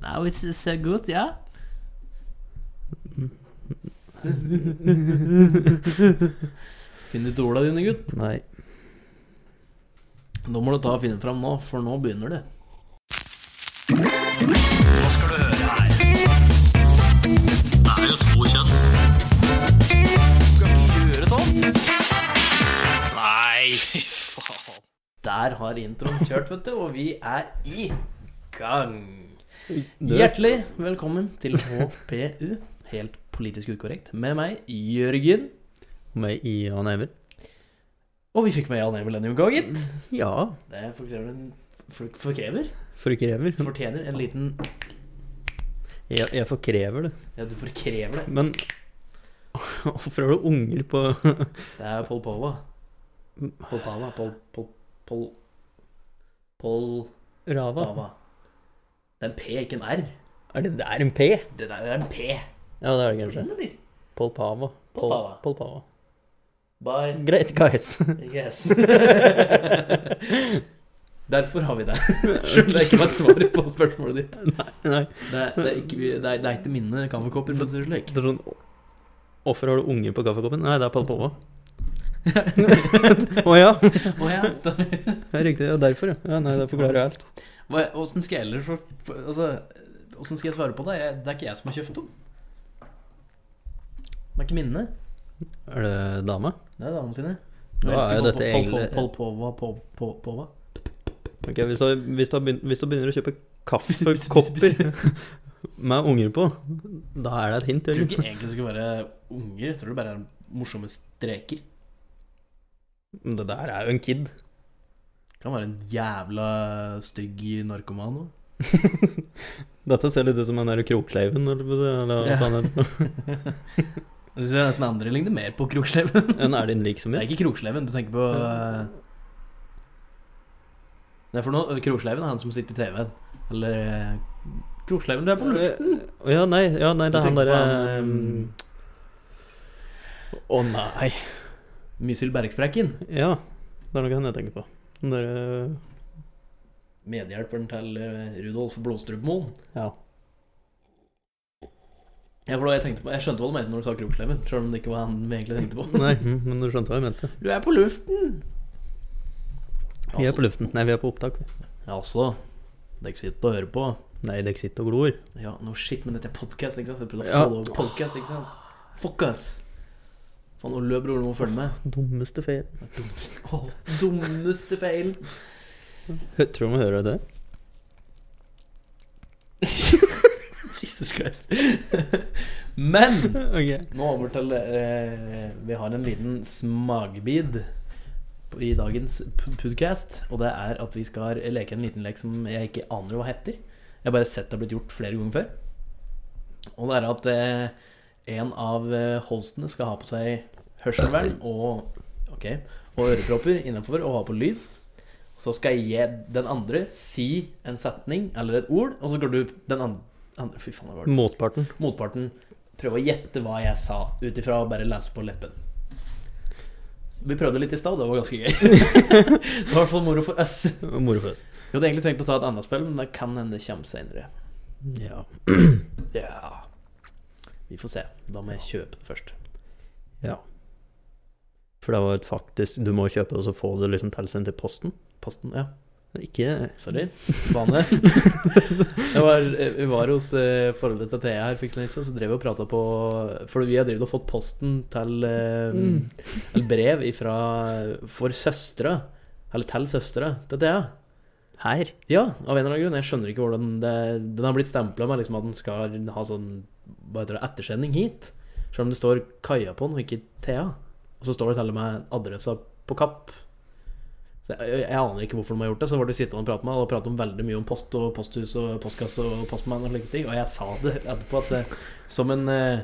Wow, it's so good, ja. Finn ut orda dine, gutt. Nei. Nå må du ta og finne fram nå, for nå begynner det. Der har introen kjørt, vet du, og vi er i gang. Hjertelig velkommen til HPU, helt politisk ukorrekt, med meg, Jørgen. Med i og never. Og vi fikk med Jan Emil denne uka, gitt. Ja. Det forkrever, en, for, forkrever, For krever. fortjener en liten Jeg, jeg forkrever det. Ja, du forkrever det. Men hvorfor har du unger på Det er Pol Pova. Pol Pava. Pol Pol Pol Pol Rava? Pava. Det er en P, ikke en R. Er det der en P? Det der er en P. Ja, det er det kanskje. Eller? Polpava. Polpava. Polpava. Bye. Greit, guys. Yes. Derfor har vi det. Selv om det ikke var et svar på spørsmålet ditt. Nei. Det, det, er, ikke, det, er, det er ikke mine kaffekopper, for å si det slik. Det er sånn Hvorfor har du unger på kaffekoppen? Nei, det er Polpava. Å ja. Å ja, stemmer. Det er riktig. Ja, derfor, ja. ja. Nei, det forklarer jeg alt. Hva- Åssen skal jeg ellers for- for- Altså, åssen skal jeg svare på det? Jeg, det er ikke jeg som har kjøpt dem. Det er ikke minnene. Er det dame? Det er damene sine. Da Jeg elsker er jo Pol- dette Pol- egentlig- Pol- Pol- Pol- Pol- Pol- Pol- Ok, hvis du, hvis, du har begynt, hvis du begynner å kjøpe kaffekopper med unger på, da er det et hint. Jeg tror Jørgen. ikke egentlig det skal være unger. Jeg tror det bare er morsomme streker. Men Det der er jo en kid. Kan være en jævla stygg narkoman òg. Dette ser litt ut som den der Kroksleiven eller hva det er, eller Ja. hva faen heter det. Jeg syns nesten andre ligner mer på Kroksleven. En er din liksom Det min. er ikke Kroksleven du tenker på. eh. Nei, for nå Kroksleven er han som sitter i TV-en. Eller eh, Kroksleven, du er på lufta. Å, Eh, Ja, nei, ja, nei, Du det er han eh, tenkte derre mm, på Å han, ehm, nei. Mysil Bergsprekken. Ja, det er noe han jeg tenker på. Den derre Medhjelperen til eh, Rudolf Blåstrupmoen. Ja. Ja, for da jeg, tenkte på, jeg skjønte hva du mente når du sa Kroksleven, sjøl om det ikke var han vi egentlig tenkte på. Nei, mm, men du skjønte hva jeg mente. Du er på luften! Vi er på luften. Nei, vi er på opptak. vi. Ja, altså. Det er ikke sitt å høre på. Nei, dere sitter og glor. Ja, no shit, men dette er podkast, ikke sant? Så jeg prøvde å Ja. få det over podcast, ikke sant? Fuck, ass! Faen, Ole Bror, du må følge med. Dummeste feil. Det er dummeste, Åh, dummeste feil. Hø- Tror du vi hører det? Jesus Christ. men Ok. Nå over til eh, Vi har en liten smakebit på- i dagens p- podcast. Og det er at vi skal leke en liten lek som jeg ikke aner hva heter. Jeg har bare sett det har blitt gjort flere ganger før. Og det er at eh, en av eh, hostene skal ha på seg hørselvern og, ok, og ørepropper innenfor og ha på lyd. Så skal jeg den andre si en setning eller et ord, og så går du den andre, andre Fy faen, hva var det? Motparten. motparten prøve å gjette hva jeg sa, ut ifra å bare lese på leppen. Vi prøvde litt i stad, det var ganske gøy. det var i hvert fall moro for oss. Moro for oss. Vi hadde egentlig tenkt å ta et annet spill, men det kan hende det kommer senere. Ja. Ja. Vi får se. Da må jeg kjøpe det først. ja. For det var et faktisk Du må kjøpe det, og så få det liksom tilsendt i posten. Posten, ja. Ikke Sorry. Vane. Jeg var, vi var hos eh, forholdet til Thea her for ikke så lenge siden, så drev vi og prata på For vi har drevet og fått posten til eh, Eller brev ifra For søstera. Eller til søstera til Thea. her. Ja, av en eller annen grunn. Jeg skjønner ikke hvordan det Den har blitt stempla med liksom at den skal ha sånn Hva heter det, ettersending hit. Selv om det står Kaja på den, og ikke Thea. Og så står det til og med adressa på Kapp. Så jeg, jeg aner ikke hvorfor de har gjort det. Så var det sittende og prate med og prate om veldig mye om post og posthus og postkasse og postmann og slike ting. Og jeg sa det etterpå at eh, som en eh,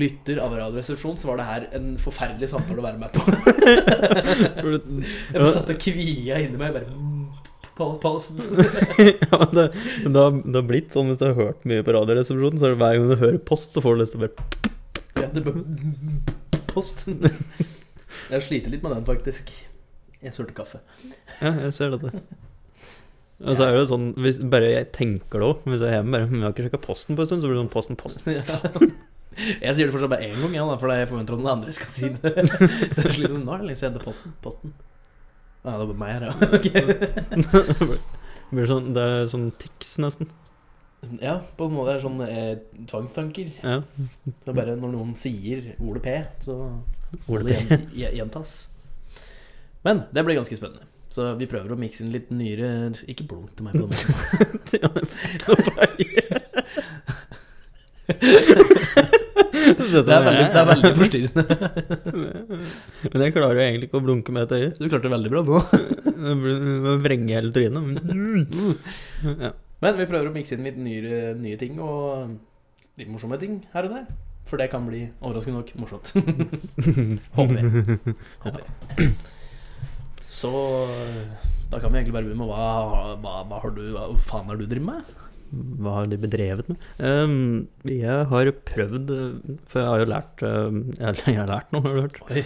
lytter av Radioresepsjonen, så var det her en forferdelig samtale å være med på. For det- Jeg bare satt og kvia inni meg. bare mm, po- Posten. ja, men det, men det, har, det har blitt sånn hvis du har hørt mye på Radioresepsjonen, så er det hver gang du hører post, så får du lyst til å bare Ja, det bør Post. Jeg sliter litt med den, faktisk. Jeg surte kaffe. Ja, jeg ser dette. Og så er det sånn, hvis bare jeg tenker det òg Hvis jeg er hjemme bare «Hm, Jeg har ikke sjekka posten på en stund, så blir det sånn posten, posten. Jeg sier det fortsatt bare én gang, ja, da, for jeg forventer at den andre skal si det. Så det er liksom, nå er det lenge siden jeg hentet posten. Posten. Ja, det er bare meg her, ja. blir det sånn, det er sånn tics, nesten. Ok. Ja, på en måte er det sånn eh, tvangstanker. Ja. Det er bare når noen sier ordet P, så må Ordet det P. gjen- gje- gjentas. Men det blir ganske spennende. Så vi prøver å mikse inn litt nyere Ikke blunk til meg på den. Ja, det er Det er veldig, det er veldig forstyrrende. Men jeg klarer jo egentlig ikke å blunke med et øye. Du klarte det veldig bra nå. Det blir- det må Vrenge hele trynet. Ja. Men vi prøver å mikse inn litt nyere, nye ting og litt morsomme ting her og der. For det kan bli overraskende nok morsomt. Håper vi. Håper vi. Så da kan vi egentlig bare begynne med hva, hva, hva, har du, hva faen har du drevet med? Hva har de bedrevet med? Ehm, jeg har prøvd eh, For jeg har jo lært eh, jeg, har- jeg har lært noe, har du hørt? Oi.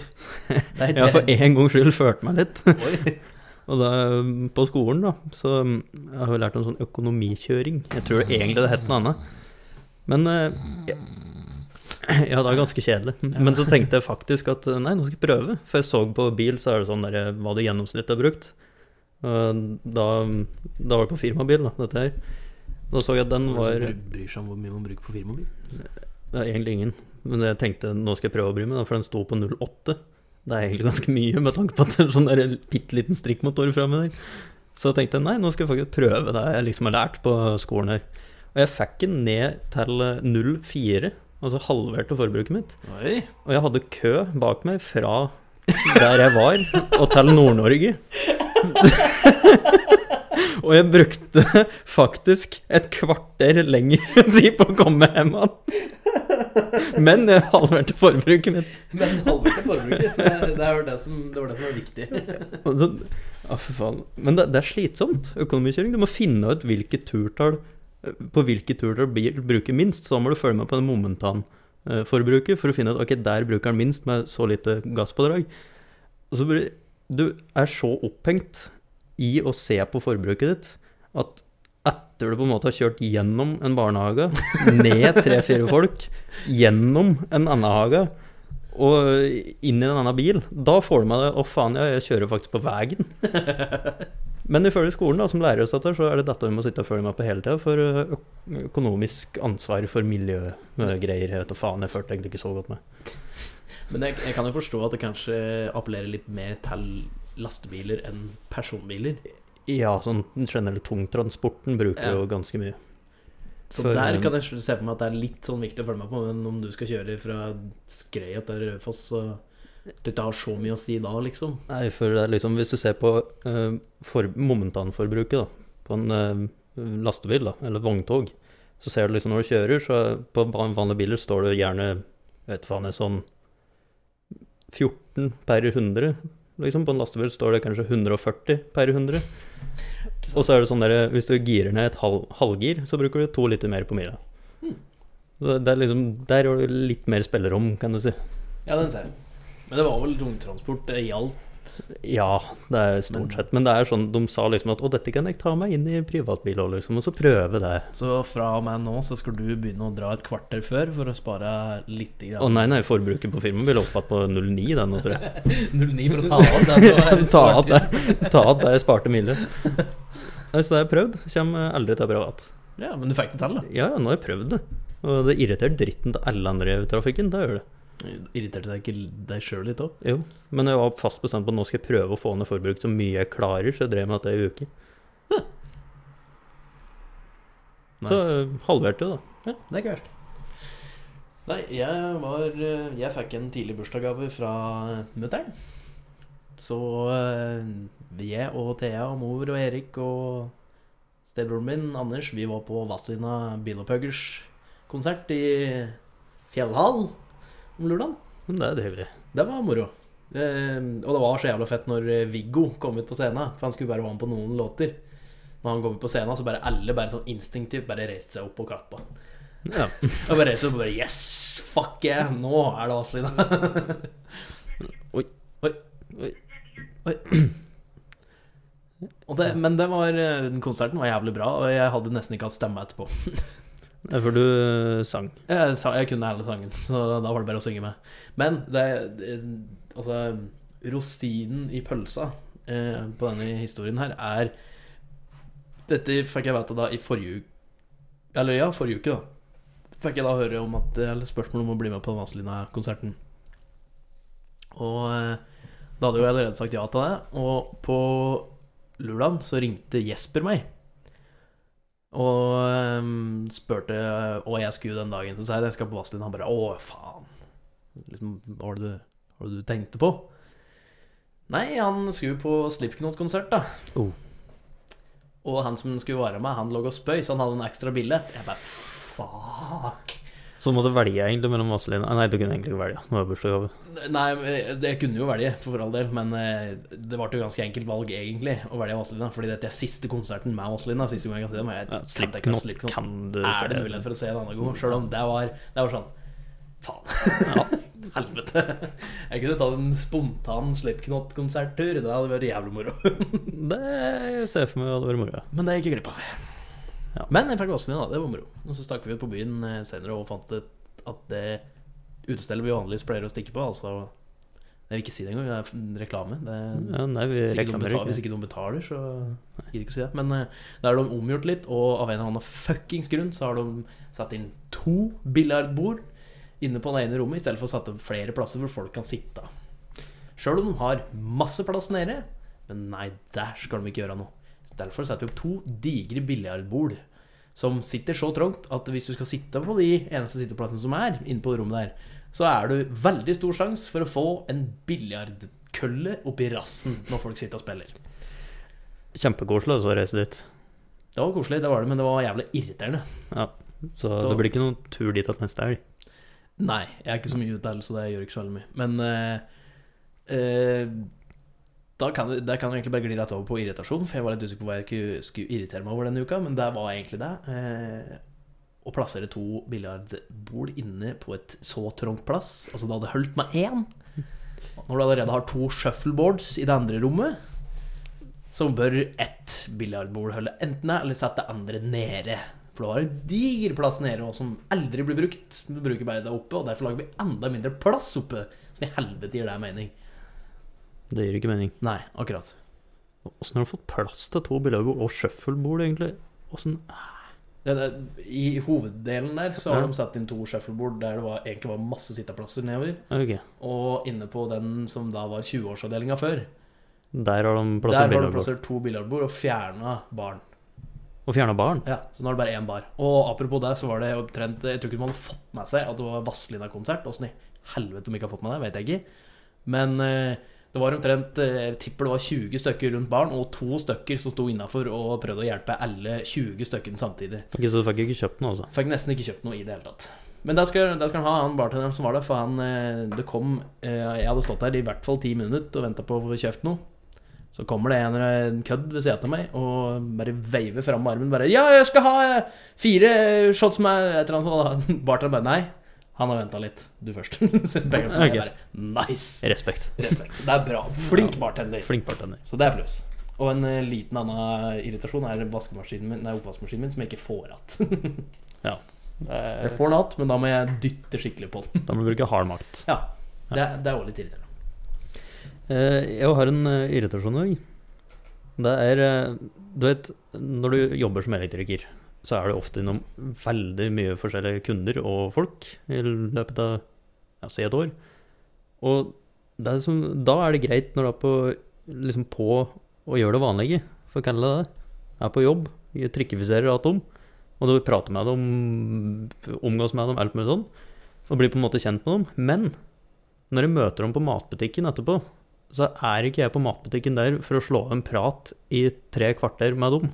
Det er Jeg har for en gangs skyld ført meg litt. Oi. Og da, eh, på skolen, da, så mm, jeg har jo lært om sånn økonomikjøring. Jeg tror egentlig det het noe annet. Men eh, jeg- ja, det er ganske kjedelig. Men så tenkte jeg faktisk at eh, nei, nå skal jeg prøve. For jeg så på bil, så er det sånn der, eh, hva du gjennomsnittlig har brukt. Og Da, da var det på firmabil, da, dette her. Da så jeg at den Noen som var sånn bry- bryr seg om hvor mye man bruker på firmabil. det er egentlig ingen. Men jeg tenkte nå skal jeg prøve å bry meg, da, for den sto på 08. Det er egentlig ganske mye, med tanke på at det er sånn der bitte liten strikkmotor framme der. Så jeg tenkte nei, nå skal jeg faktisk prøve det jeg liksom har lært på skolen her. Og jeg fikk den ned til 04, altså halverte forbruket mitt. Oi. Og jeg hadde kø bak meg fra der jeg var, og til Nord-Norge. og jeg brukte faktisk et kvarter lengre tid på å komme hjem igjen. Men jeg halverte forbruket mitt. Men halvparten forbruket. Det, det, er jo det, som, det var det som var viktig. Og så, ja, for faen. Men det, det er slitsomt, økonomikjøring. Du må finne ut hvilke turtall på hvilke turtall bil bruker minst. Så da må du følge med på den momentanforbruket for å finne ut ok, der bruker den minst med så lite gasspådrag. Og så blir du er så opphengt i å se på forbruket ditt at etter du på en måte har kjørt gjennom en barnehage, ned tre-fire folk, gjennom en annen hage og inn i en annen bil, da får du med deg Å, faen, ja, jeg kjører faktisk på veien. Men ifølge skolen, da, som lærer oss dette, så er det dette vi må sitte og følge med på hele tida. For ø- økonomisk ansvar for miljøgreier, jeg vet da faen. Jeg følte egentlig ikke så godt med. Men jeg, jeg kan jo forstå at det kanskje appellerer litt mer til lastebiler enn personbiler. Ja, sånn generell tungtransporten bruker Ja. jo ganske mye. Så For, der eh, kan jeg se for meg at det er litt sånn viktig å følge med på, men om du skal kjøre fra Skreia til Raufoss, så det har så mye å si da, liksom. Nei, for det er liksom, hvis du ser på eh, for, momentanforbruket da, på en eh, lastebil da, eller vogntog, så ser du liksom når du kjører, så på van- vanlige biler står det gjerne, jeg vet faen, det er sånn 14 per 100, liksom på en lastebil står det kanskje 140 per 100. Og så er det sånn der, hvis du girer ned et halv, halvgir, så bruker du to liter mer på mila. Hmm. Så Det er liksom, der har du litt mer spillerom, kan du si. Ja, den ser jeg. Men det var vel tungtransport eh, det gjaldt. Ja, det er stort Men- sett. Men det er sånn, de sa liksom at 'Å, dette kan jeg ta meg inn i privatbil òg', liksom. Og så prøve det. Så fra og med nå så skal du begynne å dra et kvarter før for å spare litt. Å nei, nei, forbruket på firmaet vil opp igjen på 09 den nå, tror jeg. 09 for å ta av det. som er- ta av det ta av det jeg sparte milde. Nei, så det har jeg prøvd. Kommer aldri til å prøve igjen. Ja, men du fikk det til, da. Ja, ja, nå har jeg prøvd det. Og det irriterer dritten til alle andre i trafikken. Det gjør det. Irriterte deg ikke deg sjøl litt òg? Jo. Men jeg var fast bestemt på at nå skal jeg prøve å få ned forbruket så mye jeg klarer, så jeg drev med dette i uke. Så Nice. eh, halverte jo, da. Ja, det er ikke verst. Nei, jeg var eh, Jeg fikk en tidlig bursdagsgave fra eh, mutter'n. Så eh, jeg og Thea og mor og Erik og stebroren min, Anders, vi var på Vazelina Bilopphøggers konsert i Fjellhallen om lørdagen. Men det er trivelig. Det var moro. Eh, og det var så jævla fett når eh, Viggo kom ut på scenen, for han skulle bare være med på noen låter. Når han kom ut på scenen, så bare alle bare sånn instinktivt bare reiste seg opp og klappa. Ja. Jeg bare reiser meg og bare Yes! Fuck yeah! Nå er det Vazelina. Oi. Oi. Oi. Oi. Og det, men det var, eh, den konserten var jævlig bra, og jeg hadde nesten ikke hatt stemme etterpå. Det er For du eh, sang. Jeg, sa, jeg kunne hele sangen, så da var det bare å synge med. Men det, det Altså, rosinen i pølsa eh, på denne historien her er Dette fikk jeg vite da i forrige uke Eller ja, forrige uke, da. Fikk jeg da høre om at eh, Eller spørsmål om å bli med på Vazelina-konserten. Og eh, da hadde jo jeg allerede sagt ja til det. Og på lørdagen så ringte Jesper meg. Og um, spurte hva jeg skulle den dagen. Så sa jeg at jeg skal på Vazelina. Han bare 'Å, faen'. Liksom, hva var det du, hva var det du tenkte på? Nei, han skulle på Slipknot-konsert, da. Oh. Og han som skulle være med, han lå og spøy, så han hadde en ekstra billett. Jeg bare fuck. Så du måtte velge egentlig mellom Vazelina Nei, du kunne egentlig ikke velge. Nå er bursdagsgave. Nei, men jeg kunne jo velge, for all del, men eh, det ble jo ganske enkelt valg, egentlig, å velge Vazelina. Fordi dette er siste konserten med Vazelina. Siste gang jeg kan se dem. Jeg Ja, kan tenke meg Slipknot kan du se. Er det mulighet for å se en annen gang? Selv om det var, det var sånn Faen. Helvete. Jeg kunne tatt en spontan Slipknot-konserttur. Det hadde vært jævlig moro. Det ser jeg for meg hadde vært moro. Men det gikk jeg glipp av. Ja. Men jeg fikk vassen min, da. Det var moro. Og så stakk vi ut på byen eh, senere og fant ut at det utestedet vi vanligvis pleier å stikke på, altså Jeg vil ikke si det engang, det er f- reklame. Det er, Ja, nei, vi hvis, ikke noen reklamerer betaler, ikke. hvis ikke noen betaler, så gidder jeg ikke å si det. Men eh, da er de omgjort litt, og av en eller annen fuckings grunn så har de satt inn to biljardbord inne på det ene rommet, i stedet for å sette opp flere plasser hvor folk kan sitte. Sjøl om de har masse plass nede, men nei, der skal de ikke gjøre noe. Derfor setter vi opp to digre biljardbord som sitter så trangt at hvis du skal sitte på de eneste sitteplassene som er inne på det rommet der, så er du veldig stor sjanse for å få en biljardkølle oppi rassen når folk sitter og spiller. Kjempekoselig altså, å reise dit. Det var koselig, det var det, men det var jævlig irriterende. Så, Så- det blir ikke noen tur dit at neste helg. Nei, jeg er ikke så mye utdannelse, så det gjør ikke så veldig mye. Men eh, eh, da kan, du- der kan du egentlig bare gli rett over på irritasjon, for jeg var litt usikker på hva jeg ikke skulle irritere meg over denne uka, men det var egentlig det. Eh, å plassere to biljardbord inne på et så trangt plass, altså det hadde holdt med én. Når du allerede har to shuffleboards i det andre rommet, så bør ett biljardbord holde enten det, eller sette det andre nede. For du har en diger plass nede også, som aldri blir brukt. Du bruker bare det oppe, og derfor lager vi enda mindre plass oppe. Så i helvete gir det mening. Det gir ikke mening. Nei, akkurat. Åssen har du fått plass til to billedbord og shufflebord, egentlig? Åssen Det, det, I hoveddelen der så har Ja. de satt inn to shuffleboard der det var, egentlig var masse sitteplasser nedover. Ok. Og inne på den som da var 20-årsavdelinga før, Der har de plass der har til de billedbord. plassert to biljardbord og fjerna baren. Og fjerna baren. Ja, Liksom. så nå er det bare én bar. Og apropos det, så var det omtrent Jeg tror ikke man hadde fått med seg at det var Vazelina-konsert. Åssen i helvete de ikke har fått med det, vet jeg ikke. Men eh, det var omtrent eh, Jeg tipper det var 20 stykker rundt baren, og to stykker som sto innafor og prøvde å hjelpe alle 20 stykkene samtidig. Ok, så du fikk ikke kjøpt noe, altså? Fikk nesten ikke kjøpt noe i det hele tatt. Men der skal, der skal han ha han bartenderen som var der, for han eh, Det kom eh, Jeg hadde stått der i hvert fall ti minutter og venta på å få kjøpt noe. Så kommer det en, en kødd ved siden av meg og bare veiver fram med armen. Bare 'Ja, jeg skal ha eh, fire shots med et eller annet sånt.' da. Bartenderen bare 'Nei, han har venta litt. Du først'. Så begge to Ok. bare Nice! Respekt. Respekt. Det er bra. Flink bartender. Flink bartender. Så det er pluss. Og en eh, liten annen irritasjon er vaskemaskinen min, nei, oppvaskmaskinen min som jeg ikke får att. Jeg får den att, men da må jeg dytte skikkelig på den. Da må du bruke hard makt. Ja, det, er- det er også litt irriterende. Eh, Jeg har en eh, irritasjon i dag. Det er eh, Du vet, når du jobber som elektriker, så er du ofte innom veldig mye forskjellige kunder og folk i løpet av ja, si et år. Og det er som, da er det greit når du er på, liksom på å gjøre det vanlige, for å kalle det det. Er på jobb, trikkefiserer alt om, og du prater med dem, omgås med dem, alt mulig sånn. Og blir på en måte kjent med dem. Men når jeg møter dem på matbutikken etterpå, så er ikke jeg på matbutikken der for å slå av en prat i tre kvarter med dem.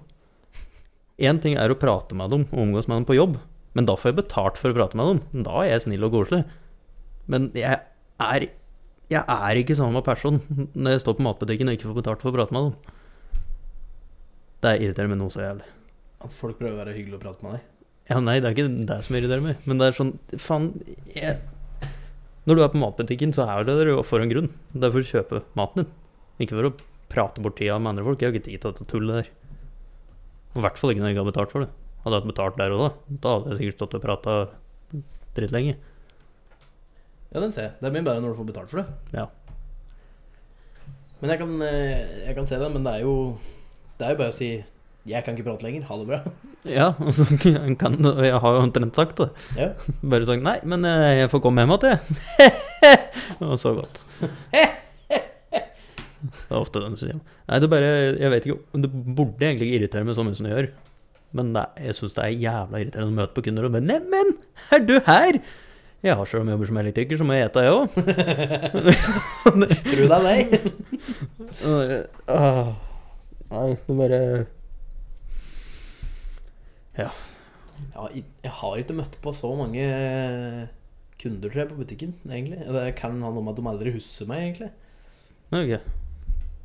Én ting er å prate med dem og omgås med dem på jobb, men da får jeg betalt for å prate med dem. Da er jeg snill og koselig. Men jeg er, jeg er ikke samme person når jeg står på matbutikken og ikke får betalt for å prate med dem. Det irriterer meg noe så jævlig. At folk prøver å være hyggelige og prate med deg. Ja, nei, det er ikke det som irriterer meg, men det er sånn Faen, jeg Når du er på matbutikken, så er du der jo for en grunn. Det er for å kjøpe maten din, ikke for å prate bort tida med andre folk. Jeg har ikke tid til dette tullet der. Og I hvert fall ikke når jeg ikke har betalt for det. Hadde jeg hatt betalt der og da, da hadde jeg sikkert stått og prata dritlenge. Ja, den ser jeg. Det er mye bedre når du får betalt for det. Ja. Men jeg kan, eh, jeg kan se den, men det er jo Det er jo bare å si 'Jeg kan ikke prate lenger. Ha det bra'. Ja, og så kan du og Jeg har jo omtrent sagt det. Ja. Bare sagt nei, men eh, jeg får komme hjem igjen, jeg. og så godt. Det er ofte den som sier Nei, det er bare Jeg vet ikke Det burde egentlig ikke irritere meg så mye som det gjør. Men det, er- jeg syns det er jævla irriterende å møte på kunder og bare Neimen, er du her? Jeg har selv om jeg jobber som elektriker, så må jeg ete, jeg òg. Tro deg det. Nei, det bare Ja, i- jeg har ikke møtt på så mange eh, kunder, tror jeg, på butikken, egentlig. Det kan ha noe med at de aldri husker meg, egentlig. Ok.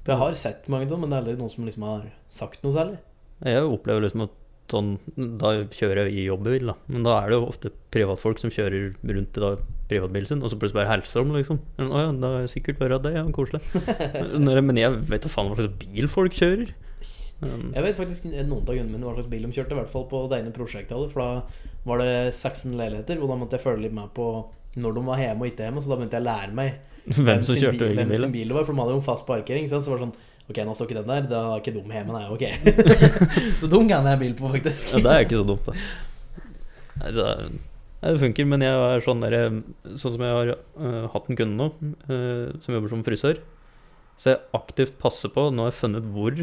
For jeg har sett mange av dem, men det er aldri noen som liksom har sagt noe særlig. Jeg opplever liksom at sånn Da kjører jeg i jobbbil, da. Men da er det jo ofte privatfolk som kjører rundt i da privatbilen sin, og så plutselig bare hilser de, liksom. Men, Å ja, da har jeg sikkert vært av det, ja, koselig. Når jeg- Men jeg vet da faen hva slags bil folk kjører. Men, Jeg vet faktisk noen av grunnene mine hva slags bil de kjørte, i hvert fall på det ene prosjektet jeg hadde, for da var det 600 leiligheter, og da måtte jeg følge litt med på når de var hjemme og ikke hjemme, så da begynte jeg å lære meg Um, Hvem som sin kjørte bil, hvilken hvem sin bil. bil det var, for de hadde jo en fast parkering, ikke sant? så det var sånn Ok, nå står ikke den der, da er ikke dum hjemme, nei, ok. så dum kan jeg ha bil på, faktisk. Ja, det er ikke så dumt, da. Nei, det, er, nei, det funker, men jeg er sånn der, Sånn som jeg har øh, hatt en kunde nå, øh, som jobber som frisør, så jeg aktivt passer på Nå har jeg funnet ut hvor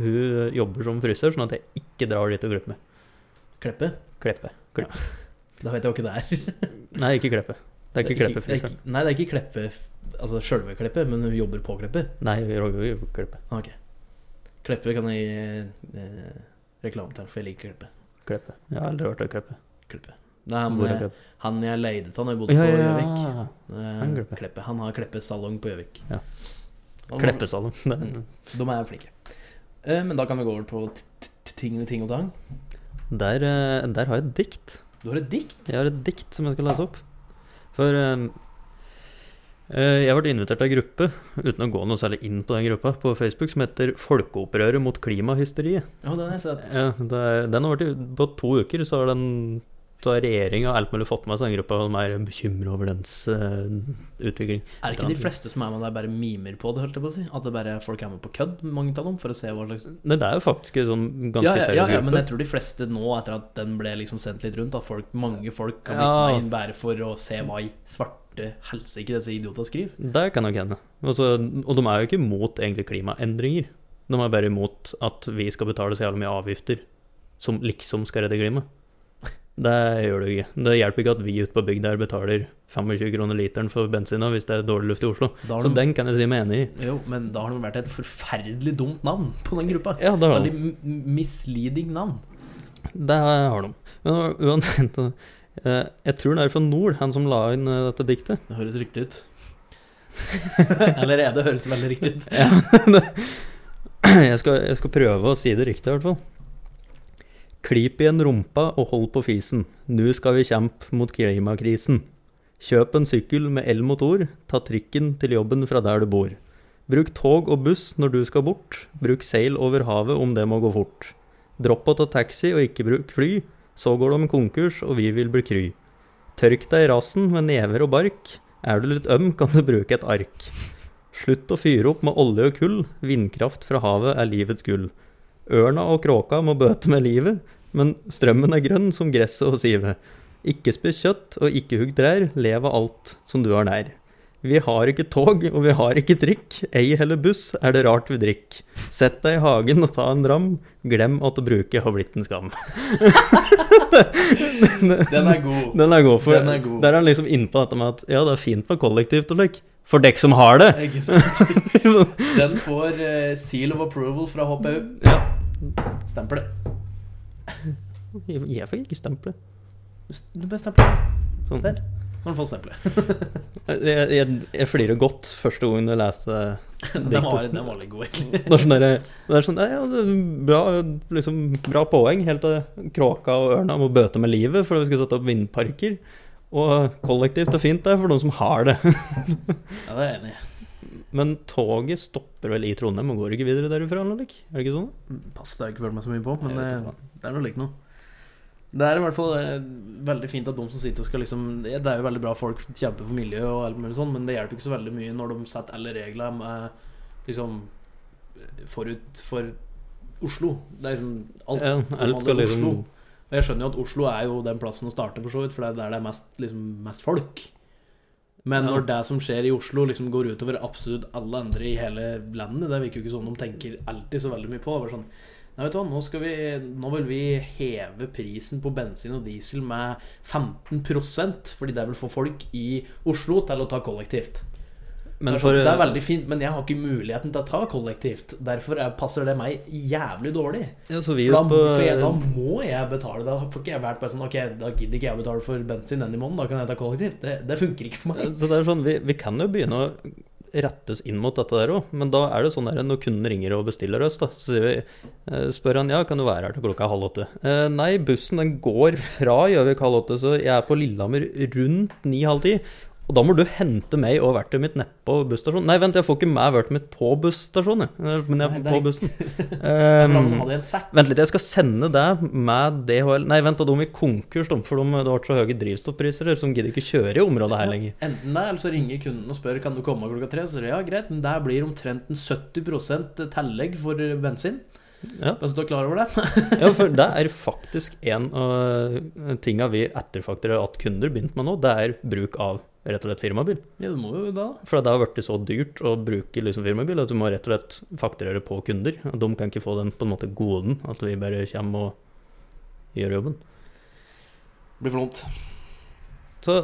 hun jobber som frisør, sånn at jeg ikke drar dit og glipper meg. Kleppe? Kleppe. Da vet jeg jo ikke det er. Nei, ikke Kleppe. Det er ikke det er Kleppe-frisøren. ikke- Nei, det er ikke Kleppe Altså sjølve Kleppe, men hun jobber på Kleppe. Nei, vi lager jo ikke Kleppe. Ah, Ok. Kleppe kan jeg gi eh, reklame til, for jeg liker Kleppe. Kleppe. Jeg har aldri vært av Kleppe. Kleppe. Nei, Hvor han, er eh, Kleppe? han jeg leide av da jeg bodde Ja, på ja, Gjøvik. ja. Eh, Han Kleppe. Kleppe. Han har Kleppe salong på Gjøvik. Ja. Han- Kleppesalong. Det er- De er flinke. Eh, Men da kan vi gå over på t- t- ting, ting og tang. Der, eh, der har jeg et dikt. Du har et dikt. Jeg har et dikt som jeg skal lese opp. For eh, eh, jeg ble invitert av en gruppe, uten å gå noe særlig inn på den gruppa, på Facebook, som heter Folkeopprøret mot klimahysteriet. Ja, den har jeg sett. Ja, det er, den har vært i- På to uker så har den så har regjeringa og alt mulig fått med seg den gruppa som er bekymra over dens eh, utvikling. Er det ikke de fleste som er med der, bare mimer på det? holdt jeg på å si? At det bare folk er med på kødd, mange av dem, for å se hva slags Nei, det er jo faktisk en sånn ganske ja, ja, ja, seriøs ja, gruppe. men jeg tror de fleste nå, etter at den ble liksom sendt litt rundt, at folk, mange folk kan Ja. vitne inn bare for å se hva i svarte helsike disse idiotene skriver. Det kan nok hende. Altså, og de er jo ikke imot egentlig klimaendringer. De er bare imot at vi skal betale så jævlig mye avgifter som liksom skal redde klimaet. Det gjør det jo ikke. Det hjelper ikke at vi ute på bygda her betaler 25 kroner literen for bensina hvis det er dårlig luft i Oslo. Da har Så de, den kan jeg si meg enig i. jo, men da har de vært et forferdelig dumt navn på den gruppa. Ja, det har de. Veldig m- misleading navn. Det har de. Men uansett eh, Jeg tror det er fra Nord, han som la inn eh, dette diktet. Det høres riktig ut. Allerede høres det veldig riktig ut. Ja, det, jeg, skal, jeg skal prøve å si det riktig, i hvert fall. Klip igjen rumpa og hold på fisen. Nu skal vi kjempe mot klimakrisen. Kjøp en sykkel med elmotor. Ta trikken til jobben fra der du bor. Bruk tog og buss når du skal bort. Bruk seil over havet om det må gå fort. Dropp å ta taxi og ikke bruk fly. Så går det om konkurs, og vi vil bli kry. Tørk deg i rassen med never og bark. Er du litt øm, kan du bruke et ark. Slutt å fyre opp med olje og kull, vindkraft fra havet er livets gull. Ørna og kråka må bøte med livet, men strømmen er grønn som gresset og sivet. Ikke spis kjøtt og ikke hugg trær, lev av alt som du har nær. Vi har ikke tog og vi har ikke trikk, ei heller buss er det rart vi drikk. Sett deg i hagen og ta en dram, glem at å bruke har blitt en skam. Den er god. Den er god, for Den er god. der er han liksom innpå dette med at ja, det er fint med kollektivt og lik, for dekk som har det. Ikke sant? Sånn. Den får eh, seal of approval fra HPU. Ja. Stempelet. Jeg jeg fikk ikke stemple. Du bør stemple. Sånn. Der. Når du får stempelet. Jeg, jeg, jeg flirer godt første gangen jeg leste det. Den var, den var litt god, egentlig. Det er sånn, der, det er sånn ja, ja, det er bra, liksom, bra poeng, helt til kråka og ørna må bøte med livet fordi vi skal sette opp vindparker. Og kollektivt er fint, det, er for de som har det. Ja, det er jeg enig i. Men toget stopper vel i Trondheim og går ikke videre derifra? eller ikke? Er det ikke sånn? Pass, det har jeg ikke følt meg så mye på, men Jeg vet ikke eh, det er noe likt noe. Det er i hvert fall eh, veldig fint at de som sitter og skal liksom Det er jo veldig bra folk kjemper for miljø og alt mulig sånn, men det hjelper ikke så veldig mye når de setter alle regler med liksom forut for Oslo. Det er liksom alt Ja, alt skal liksom Oslo. Og jeg skjønner jo at Oslo er jo den plassen å starte, for så vidt, for det er der det er mest, liksom, mest folk. Men Ja. når det som skjer i Oslo, liksom går utover absolutt alle andre i hele landet Det virker jo ikke sånn de tenker alltid så veldig mye på. Bare sånn, Nei, vet du hva, nå, skal vi, nå vil vi heve prisen på bensin og diesel med 15 fordi det vil få folk i Oslo til å ta kollektivt. Men Det er for, sånn, eh, det er veldig fint, men jeg har ikke muligheten til å ta kollektivt. Derfor er- passer det meg jævlig dårlig. ja, så vi For da, på, for jeg, da må jeg betale. Da får ikke jeg vært bare sånn Ok, da gidder ikke jeg å betale for bensin denne måneden, da kan jeg ta kollektivt. Det, det funker ikke for meg. Så det er sånn, vi, vi kan jo begynne å rettes inn mot dette der òg, men da er det sånn der når kunden ringer og bestiller oss, da, så sier vi, eh, spør han ja, kan du være her til klokka halv åtte. Eh, nei, bussen den går fra Gjøvik halv åtte, så jeg er på Lillehammer rundt ni-halv ti. Og da må du hente meg og verktøyet mitt nedpå busstasjonen. Nei, vent, jeg får ikke med verktøyet mitt på busstasjonen, jeg. Eh, men jeg Nei, er på det bussen. For da Um, hadde jeg en sekk. Vent litt, jeg skal sende deg med DHL Nei, vent, da, de gikk konkurs, de, for de, det har vært så høye drivstoffpriser, så de gidder ikke kjøre i området her lenger. Enten det, eller så ringer kunden og spør Kan du komme klokka tre. Så sier jeg ja, greit, men der blir omtrent en 70 tillegg for bensin. Ja. Bare så du er klar over det. Ja, for det er faktisk en eh, av tinga vi etterfakturerer at kunder begynte med nå, det er bruk av rett og slett firmabil. Ja, du må jo da. For det har blitt så dyrt å bruke liksom firmabil at du må rett og slett fakturere på kunder. Og De kan ikke få den på en måte goden, at vi bare kommer og gjør jobben. Blir for dumt. Så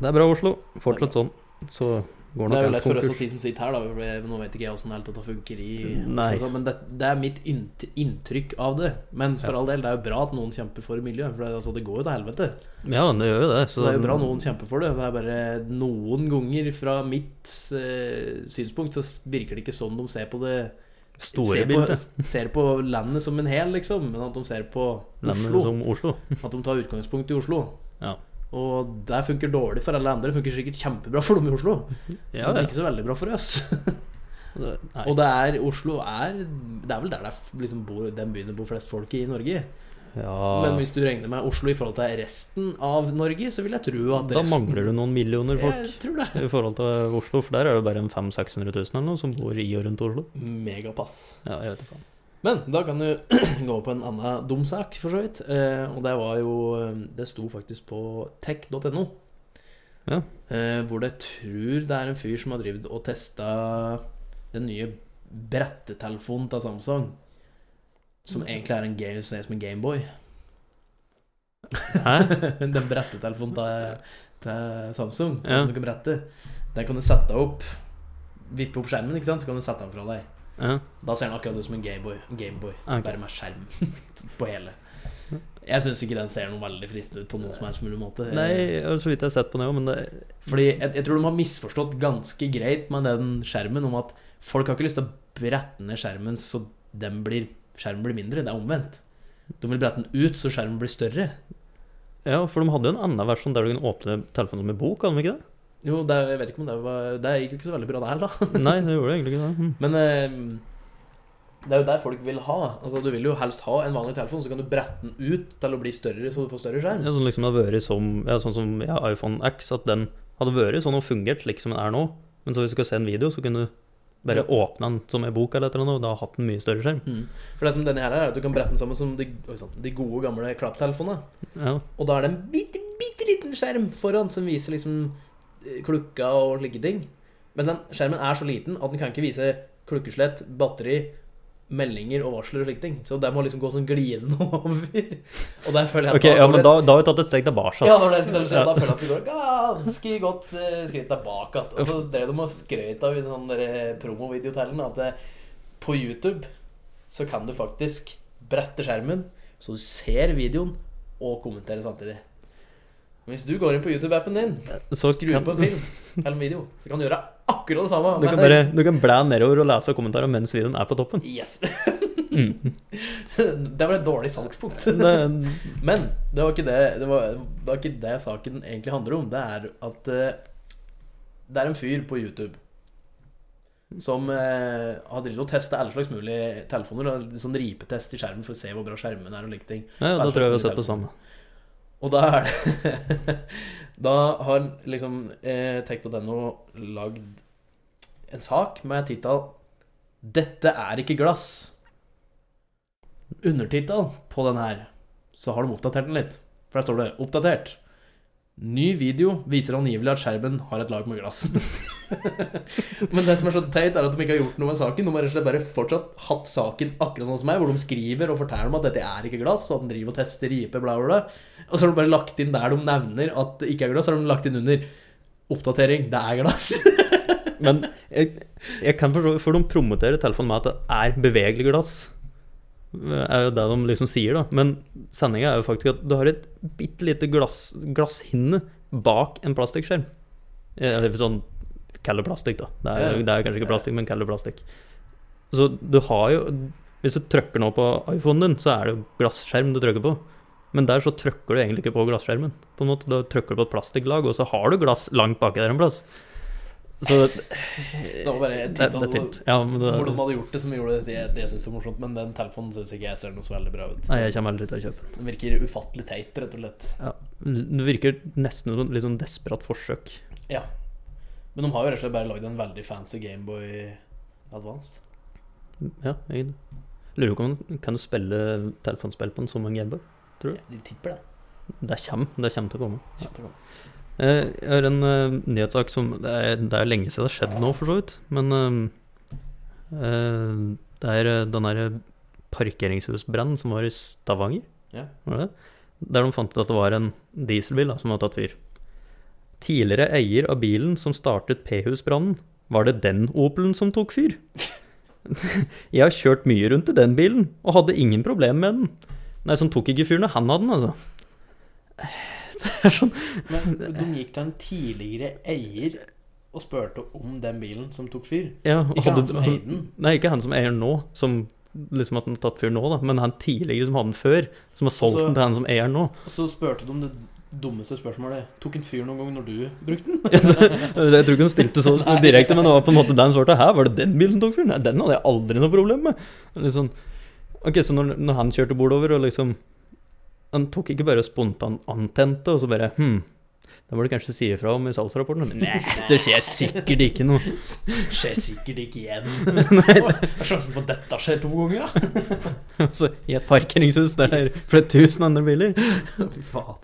det er bra, Oslo. Fortsett sånn. Så går Det er jo nok lett for oss å si som sitter her, da. for det- Nå vet ikke jeg åssen dette funker i Nei. så- Men det, det er mitt innt- inntrykk av det. Men for Ja. all del, det er jo bra at noen kjemper for miljøet. For det, altså, det går jo til helvete. Ja, det gjør jo det. Så det er jo bra noen kjemper for det. Det er bare noen ganger fra mitt eh, synspunkt så virker det ikke sånn de ser på det. Store ser, bilder. på, ser på landet som en hel, liksom, men at de ser på Landet Oslo. som Oslo. At de tar utgangspunkt i Oslo. Ja. Og det funker dårlig for alle andre. Det funker sikkert kjempebra for dem i Oslo, Ja, men det er ikke så veldig bra for oss. Nei. Og det er Oslo er Det er vel der det er, liksom, bor, den byen det bor flest folk i i Norge. Men ja. hvis du regner med Oslo i forhold til resten av Norge, så vil jeg tro at Da mangler du noen millioner folk. Jeg tror det. I forhold til Oslo, for der er det bare en 500 000-600 000 eller noe som bor i og rundt Oslo. Megapass. Ja, jeg vet ikke faen. Men da kan du gå på en annen dum sak, for så vidt. Eh, og det var jo eh, Det sto faktisk på tech.no. Ja. Eh, hvor det tror det er en fyr som har drevet og testa den nye brettetelefonen til Samsung. Mm. Som egentlig er en game, ser ut som en Gameboy. Hæ? den brettetelefonen til, til Samsung. Ja. Som du kan brette. Den kan du sette opp. Vippe opp skjermen, ikke sant? så kan du sette den fra deg. Ja. Da ser den akkurat ut som en Gameboy. Gameboy Ok. Bare med skjerm på hele. Jeg syns ikke den ser noe veldig fristende ut på noen som helst mulig måte. Nei, jeg har så vidt jeg har sett på det òg, men det Fordi jeg, jeg tror de har misforstått ganske greit med den skjermen om at folk har ikke lyst til å brette ned skjermen så den blir, skjermen blir mindre. Det er omvendt. De vil brette den ut så skjermen blir større. Ja, for de hadde jo en annen versjon der du kunne åpne telefonen som en bok, hadde de ikke det? Jo, det, jeg vet ikke om det var Det gikk jo ikke så veldig bra der, da. Nei, det gjorde egentlig ikke det. Hm. Men eh, det er jo der folk vil ha. Altså, du vil jo helst ha en vanlig telefon, så kan du brette den ut til å bli større, så du får større skjerm. Ja, sånn liksom det har vært som ja, Sånn som ja, iPhone X, at den hadde vært sånn og fungert slik som den er nå. Men så hvis du skal se en video, så kunne du bare Ja. åpne den som en bok eller et eller annet, og da hatt en mye større skjerm. Mm. For det som denne her er, er at du kan brette den sammen som de, oi, sant, de gode gamle klapptelefonene. Ja. Og da er det en bitte, bitte liten skjerm foran som viser liksom eh, klukka og slike ting. Men den skjermen er så liten at den kan ikke vise klukkeslett, batteri, meldinger og varsler og slike ting. Så det må liksom gå sånn glidende over. Og der føler jeg Ok, ja, går men det- da, da har vi tatt et steg tilbake. ja, det var det jeg skulle til å si. Ja. Da føler jeg at vi går ganske godt eh, skritt tilbake. at- Og så drev Altså, de og skrøt av i sånn der promovideotellen at eh, på YouTube så kan du faktisk brette skjermen, så du ser videoen og kommenterer samtidig. Hvis du går inn på YouTube-appen din, Så skrur kan- på en film eller en video, så kan du gjøre akkurat det samme. Du kan, men- bare, du kan blæ nedover og lese kommentarer mens videoen er på toppen. Yes. Mm. det var et dårlig salgspunkt. Det, Men det var ikke det, det, var, det var ikke det saken egentlig handler om. Det er at eh, det er en fyr på YouTube Som eh, har drevet og testa alle slags mulige telefoner. da, Sånn ripetest i skjermen for å se hvor bra skjermen er og like ting. Nei, og da Bare tror jeg vi har slåss med sett det samme. Og da er det Da har liksom eh, Tech.no lagd en sak med tittel 'Dette er ikke glass'. Undertittel på den her, så har de oppdatert den litt. For der står det 'Oppdatert'. Ny video viser angivelig at skjermen har et lag med glass. Men det som er så teit, er at de ikke har gjort noe med saken. De har rett og slett bare fortsatt hatt saken akkurat sånn som meg, hvor de skriver og forteller om at dette er ikke glass, og de driver og tester riper, bla, bla, bla. Og så har de bare lagt inn der de nevner at det ikke er glass, så har de lagt inn under oppdatering. Det er glass. Men jeg, jeg kan forstå, for de promoterer telefonen med at det er bevegelig glass. Det er jo det de liksom sier, da. Men sendinga er jo faktisk at du har et bitte lite glass, glasshinne bak en plastikkskjerm. Eller sånn Kall det plastikk, da. Det er, Ja. det er kanskje ikke plastikk, men kall det plastikk. Så du har jo Hvis du trykker nå på iPhonen din, så er det jo glasskjerm du trykker på. Men der så trykker du egentlig ikke på glasskjermen. På en måte, Da trykker du på et plastikklag, og så har du glass langt baki der en plass. Så Det var bare et det, det tittel er tynt. Ja, men det, hvordan de hadde gjort det, som gjorde det. Det syns jeg er morsomt, men den telefonen syns ikke jeg ser noe så veldig bra ut. nei, jeg kommer aldri til å kjøpe den. Den virker ufattelig teit, rett og slett. Ja. Det virker nesten som et litt sånn desperat forsøk. Men de har jo rett og slett bare lagd en veldig fancy Gameboy Advance. Ja, egentlig. Lurer på om kan du spille telefonspill på en som en Gameboy? Tror du? Ja, de tipper det. Det kommer, det kommer til å komme. Kjempebra. Eh, Jeg har en eh, nyhetssak som Det er, det er lenge siden det har skjedd nå, for så vidt. Men eh, eh, det er eh, den derre parkeringshusbrannen som var i Stavanger. Ja. Var det? Der de fant ut at det var en dieselbil da, som hadde tatt fyr. Tidligere eier av bilen som startet P-husbrannen, var det den Opelen som tok fyr? Jeg har kjørt mye rundt i den bilen, og hadde ingen problemer med den. Nei, som tok ikke fyr når han hadde den, altså. Det er sånn Men de gikk til en tidligere eier og spurte om den bilen som tok fyr. Ja, Ikke hadde- han som eier den. Nei, ikke han som eier den nå, som liksom at den har tatt fyr nå, da, men han tidligere som hadde den før, som har solgt Altså- den til han som eier den nå. Og så spurte de om det dummeste spørsmålet. Tok en fyr noen gang når du brukte den? Jeg tror ikke hun stilte så direkte, men det var på en måte den svarte Hæ, var det den bilen som tok fyr? Nei, den hadde jeg aldri noe problem med. Litt sånn, ok, så når, når han kjørte bordover og liksom Han tok ikke bare spontan antente, og så bare Hm, det må du kanskje si ifra om i salgsrapporten. Men nei, det skjer sikkert ikke noe. Skjer sikkert ikke igjen. Åh, Sjansen for at dette skjer to ganger, da? Så Altså, I et parkeringshus der det er flere tusen andre biler. Fy faen.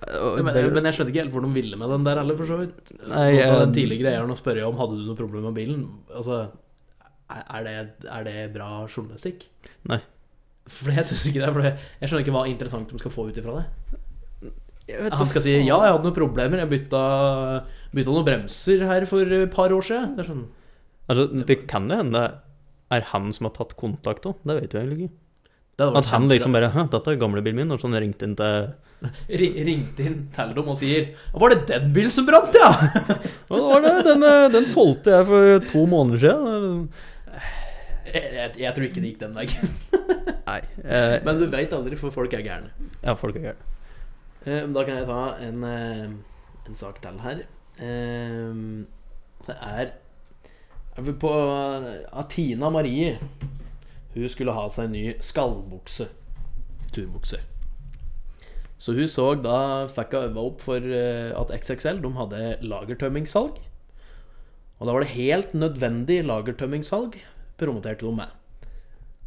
Og Men, det- men jeg skjønte ikke helt hvor de ville med den der heller, for så vidt. Nei, Nå tar eh, den tidligere eieren og spør om hadde du noe problem med bilen. Altså, er er det, er det bra journalistikk? Nei. For jeg synes ikke det, for jeg jeg skjønner ikke hva interessant de skal få ut ifra det. Jeg vet da Han skal si faen. 'ja, jeg hadde noen problemer, jeg bytta, bytta noen bremser her for et par år siden'. Det er sånn Altså, det kan jo hende det er han som har tatt kontakt òg, det vet jeg egentlig ikke. det hadde vært At han kjempebra. liksom bare Hæ, dette er gamlebilen min, og sånn ringte inn til Ri- Ringte inn til dem og sier 'Var det den bilen som brant, ja?' Hva var det? Den, eh, den solgte jeg for to måneder siden. Jeg, jeg, jeg tror ikke det gikk den veien. Nei. Eh, Men du veit aldri, for folk er gærne. ja, folk er gærne. Eh, Da kan jeg ta en, eh, en sak til her. Eh, Det er er vi på Atina Marie. Hun skulle ha seg en ny skallbukse. Turbukse. Så hun så da fikk hun øva opp for eh, at XXL de hadde lagertømmingssalg. Og da var det helt nødvendig lagertømmingssalg, promoterte de med.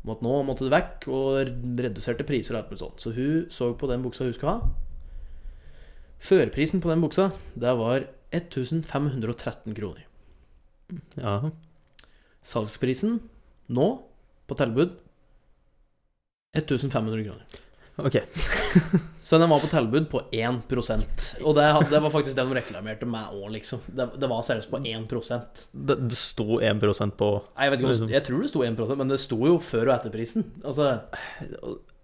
Om at nå måtte det vekk, og reduserte priser og alt mulig sånt. Så hun så på den buksa hun skulle ha. Førprisen på den buksa, det var 1513 kroner. Ja. Salgsprisen nå, på tilbud, 1500 kroner. Ok. Så den var på tilbud på 1 Og det, hadde, det var faktisk det de reklamerte meg òg, liksom. Det, det var seriøst på 1 Nei, Det, det sto 1 på jeg, vet ikke om, det- jeg tror det sto 1 men det sto jo før og etter prisen. Altså,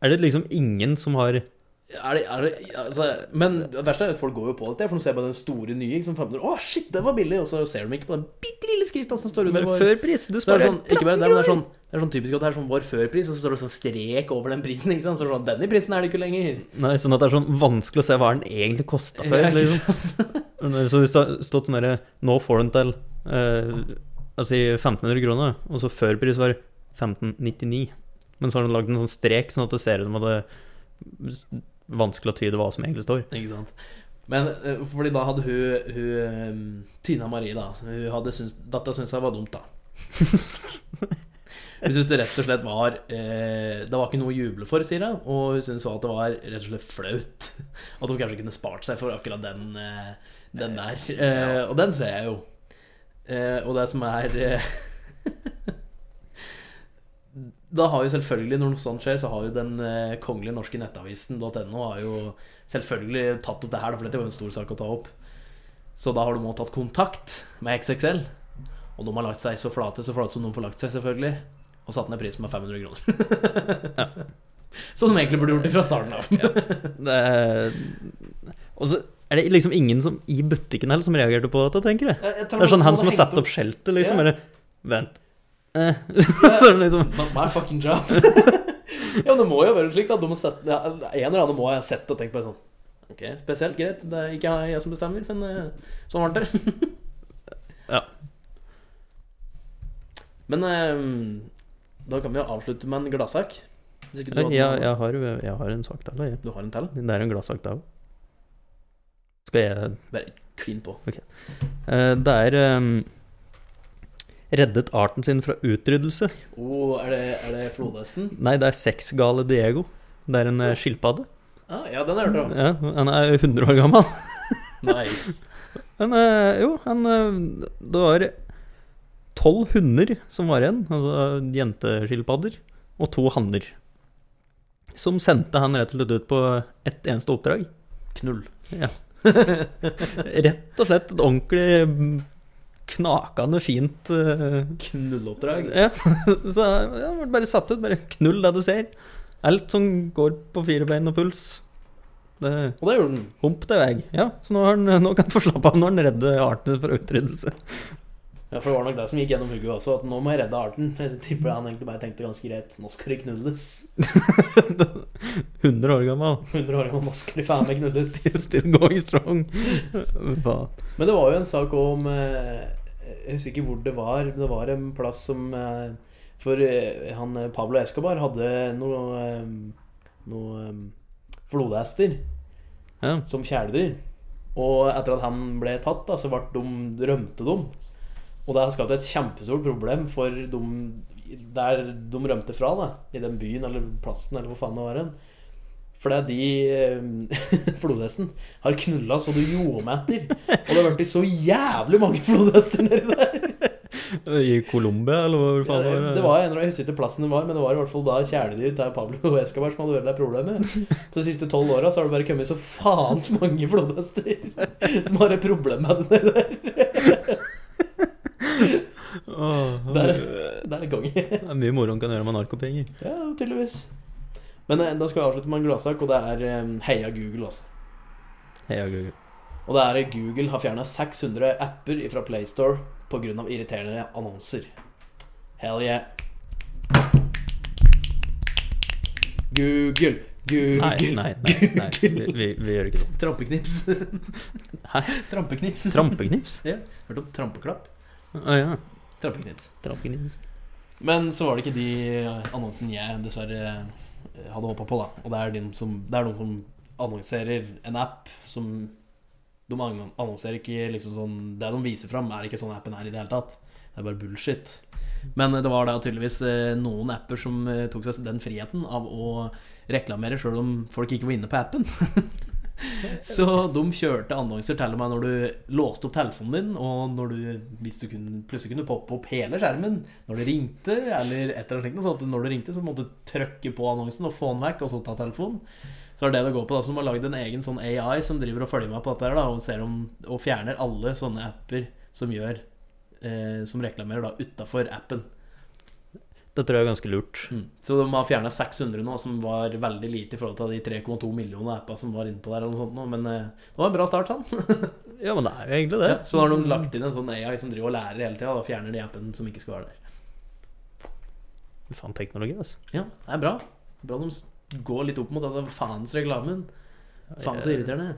Er det liksom ingen som har er det, er det, altså Men det verste er at folk går jo på dette, for de ser på den store nye. Liksom, 500. Å, shit, det var billig! Og så ser de ikke på den bitte lille skrifta som står under. Bare hvor- førpris? Du Så det sparer er sånn, ikke bare det, men det er kroner! sånn, det er sånn typisk at det er sånn vår førpris, og så står det sånn strek over den prisen. ikke sant? Så er det sånn, Denne prisen er det ikke lenger. Nei, sånn at det er sånn vanskelig å se hva den egentlig kosta før. Ja, ikke Liksom. Men Så hvis det har stått sånn derre Nå får den til eh, altså i 1500 kroner, og så før pris var det 1599. Men så har de lagd en sånn strek, sånn at det ser ut som at det er vanskelig å tyde hva som egentlig står. Ikke sant? Men eh, fordi da hadde hun, hun eh, Tina Marie, da Hun hadde syns- Dattera syntes det var dumt, da. Hun syntes det rett og slett var eh, Det var ikke noe å juble for, sier hun. Og hun syntes også at det var rett og slett flaut. At hun kanskje kunne spart seg for akkurat den, eh, den der. Eh, og den ser jeg jo. Eh, og det som er eh, Da har jo selvfølgelig, når noe sånt skjer, så har jo den eh, kongelige norske nettavisen.no har jo selvfølgelig tatt opp det her, da, for dette var jo en stor sak å ta opp. Så da har de også tatt kontakt med XXL. Og de har lagt seg så flate så flate som de får lagt seg, selvfølgelig. Og satt ned prisen med 500 kroner. Som de egentlig burde gjort fra starten av. Det er, og så er det liksom ingen som, i butikken heller som reagerte på dette, tenker jeg. Det er sånn han som har satt opp skjeltet, liksom. Ja. Bare Vent. Eh. så er det liksom Not my fucking job. ja, det må jo være slik, da. De må sette, ja, en eller annen må ha sett og tenkt på det sånn. Ok, spesielt greit. Det er ikke jeg som bestemmer, men eh, sånn ble det. Ja. Men eh, da kan vi jo avslutte med en gladsak. Hvis ikke du, Jeg, hadde noe- jeg, har, jeg har en sak til, jeg. du har en til? Det er en gladsak, det òg. Skal jeg Bare klin på. Eh, Det er ehm, Reddet arten sin fra utryddelse. Oh, er, det, er det flodhesten? Nei, det er sexgale Diego. Det er en eh, skilpadde. Ah, ja, den har jeg hørt om. Ja, han er 100 år gammel. Nice. Han, eh, jo, han eh, Det var tolv hunder som var igjen, altså jenteskilpadder, og to hanner. Som sendte han rett og slett ut på ett eneste oppdrag. Knull. Rett og slett et ordentlig mm, knakende fint eh, Knulloppdrag. Ja, så jeg ble bare satt ut. Bare knull det du ser. Alt som går på fire bein og puls. Det Og det gjorde den. Hump det vei. Ja, så nå, har han, nå kan han få slappe av når han redder artene for utryddelse. Ja, for det var nok det som gikk gjennom hugget også, at nå må jeg redde arten. Jeg tipper han egentlig bare tenkte ganske greit. Nå skal det knulles. 100 år gammel. 100 år gammel, nå skal det faen meg knulles. Still going strong. Hva? Men det var jo en sak om eh, Jeg husker ikke hvor det var. men Det var en plass som eh, For eh, han eh, Pablo Escobar hadde noe eh, Noe eh, flodhester Ja. som kjæledyr. Og etter at han ble tatt, da, så ble de, rømte de. Og det har skapt et kjempestort problem for dem der de rømte fra, da, i den byen eller plassen eller hvor faen det var hen. Fordi de eh, flodhesten har knulla så du jordmeter. Og det har blitt så jævlig mange flodhester nedi der. I Colombia, eller hvor Ja, faen det, var Eh, det var en, Jeg husker ikke plassen det var, men det var i hvert fall da kjæledyr til Pablo Escobar som hadde veldig problemet. Så de siste tolv åra har det bare kommet så faens mange flodhester som har et problem med det der. Åh, Der, det der er gangen. er mye moro han kan gjøre med narkopenger. Ja, tydeligvis. Men eh, da skal vi avslutte med en gladsak, og det er eh, heia Google, altså. Heia Google. Og det er Google har fjerna 600 apper fra PlayStore pga. irriterende annonser. Hell yeah. Google, Google, Nei, nei, nei. nei. Vi, vi, vi gjør ikke det. Trampeknips. Hæ? Trampeknips. Trampeknips? Hørte om trampeklapp? Å ja. Trampeknips. Trampeknips. Men så var det ikke de annonsene jeg dessverre eh, hadde håpa på, da. Og det er, de som, det er noen som annonserer en app som De annon- annonserer ikke liksom sånn Det de viser fram, er ikke sånn appen er i det hele tatt. Det er bare bullshit. Men det var da tydeligvis eh, noen apper som eh, tok seg den friheten av å reklamere sjøl om folk ikke var inne på appen. Så de kjørte annonser til og med når du låste opp telefonen din, og når du, hvis du kunne, plutselig kunne poppe opp hele skjermen når det ringte, eller et eller annet slikt, sånn at når det ringte, så måtte du trykke på annonsen og få den vekk, og så ta telefonen. Så er det det går på, da, så de har lagd en egen sånn AI som driver og følger med på dette her, da, og ser om, og fjerner alle sånne apper som gjør eh, som reklamerer da utafor appen. Mm. Det tror jeg er ganske lurt. Så de har fjerna 600 nå, som var veldig lite i forhold til de 3,2 millioner appa som var innpå der. Eller noe sånt nå, men eh, det var en bra start, sånn. Ja, men det er jo egentlig det. Mm. Ja, så da har de lagt inn en sånn AI som driver og lærer hele tida, og fjerner de appen som ikke skal være der. Faen, teknologi, altså. Ja, det er bra. Bra de s- går litt opp mot altså, faens reklamen. Faen så Jeg- irriterende.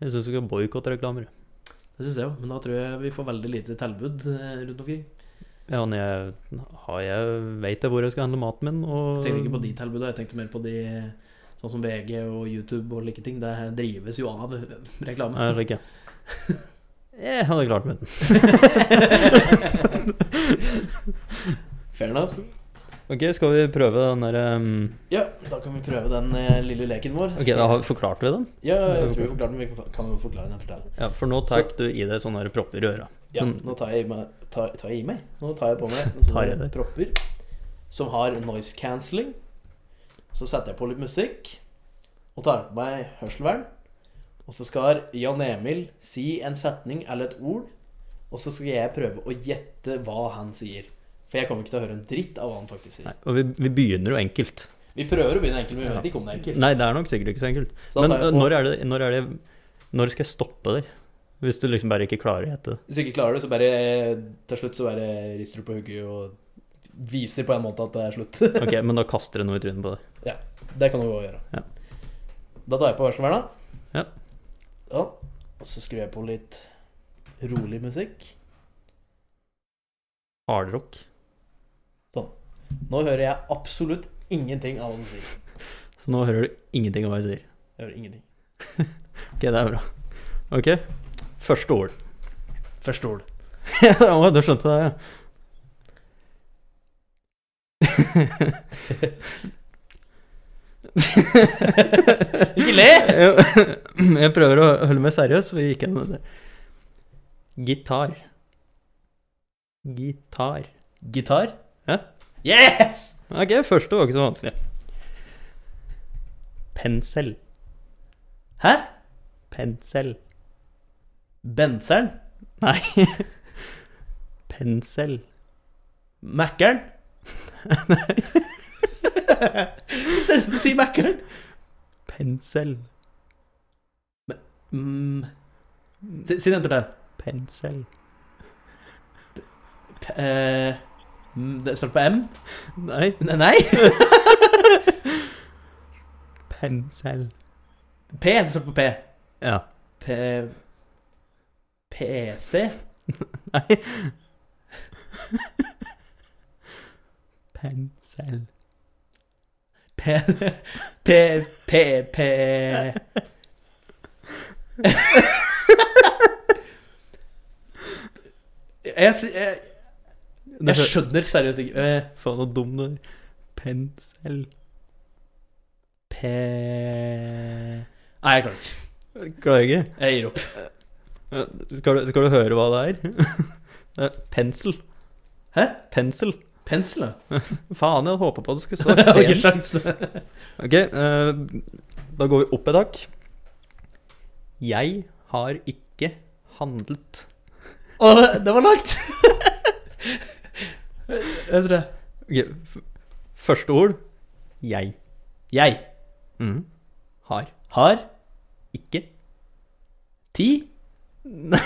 Jeg syns du skal boikotte reklamer. Det syns jeg jo, men da tror jeg vi får veldig lite tilbud eh, rundt omkring. Ja, når jeg, har jeg, vet jeg hvor jeg skal handle maten min. Og, Jeg tenkte ikke på de tilbudene, jeg tenkte mer på de sånn som VG og YouTube og like ting. Det drives jo av reklame. Nei, slik, ja. Jeg hadde klart meg uten. Fair enough. Ok, skal vi prøve den der ehm, Ja, da kan vi prøve den eh, lille leken vår. Ok, da har- forklarte vi den? Ja, jeg tror vi forklarte den, men vi kan jo forklare den etterpå. Ja, for nå tar du i deg sånne her propper i øra. Ja, Mm. nå tar jeg, i meg, tar, tar jeg i meg. Nå tar jeg på meg noen Tar jeg sånne det? propper som har noise cancelling. Så setter jeg på litt musikk og tar på meg hørselvern. Og så skal Jan Emil si en setning eller et ord, og så skal jeg prøve å gjette hva han sier. For jeg kommer ikke til å høre en dritt av hva han faktisk sier. Nei, og vi, vi begynner jo enkelt. Vi prøver å begynne enkelt, men vi Ja. vet ikke om det er enkelt. Nei, det er nok sikkert ikke så enkelt. Så da Men tar jeg eh, på- når er, det, når er det Når skal jeg stoppe deg? Hvis du liksom bare ikke klarer å gjette det. Hvis du ikke klarer det, så bare til slutt så bare rister du på hugget og viser på en måte at det er slutt. Ok, men da kaster jeg noe i trynet på deg. Det kan du også gjøre. Ja. Da tar jeg på varselverna. Ja. ja. Og så skrur jeg på litt rolig musikk. Hardrock. Nå hører jeg absolutt ingenting av hva du sier. Så nå hører du ingenting av hva jeg sier. Jeg hører ingenting. Ok, det er bra. Ok, første ord. Første ord. Ja, å, da skjønte jeg det, ja. Ikke le! Jeg, jeg prøver å holde meg seriøs, for vi gikk gjennom det. Gitar. Gitar. Gitar. Ja. Yes! Ok, første var ikke så vanskelig. Pensel. Hæ? Pensel. Benseren? Nei. Pensel. Mækkern? Nei. Ser ut som du sier Mækkern. Pensel. Mm. Si si den etter den. Pensel. P- eh, mm, Det står på M? Nei. Ne- Nei. Pensel. P. Det står på P. Ja. P... PC? Nei. Pensel. P... P... P... P... Jeg, sy- jeg, jeg skjønner seriøst ikke Eh, Faen, så dum du er. Pensel. P... Nei, jeg klarer ikke. Klarer ikke. Jeg gir opp. Skal du, skal du høre hva det er? Det er Pensel. Hæ? Pensel. Pensel, da? Faen, jeg hadde håpa på at du skulle Jeg har svare ikke pens. sjans. Ok, eh, da går vi opp et hakk. Jeg har ikke handlet. Å, det- det var langt! Jeg tror det. Ok, f- Første ord jeg. Mm. Jeg Har har ikke ti. Nei.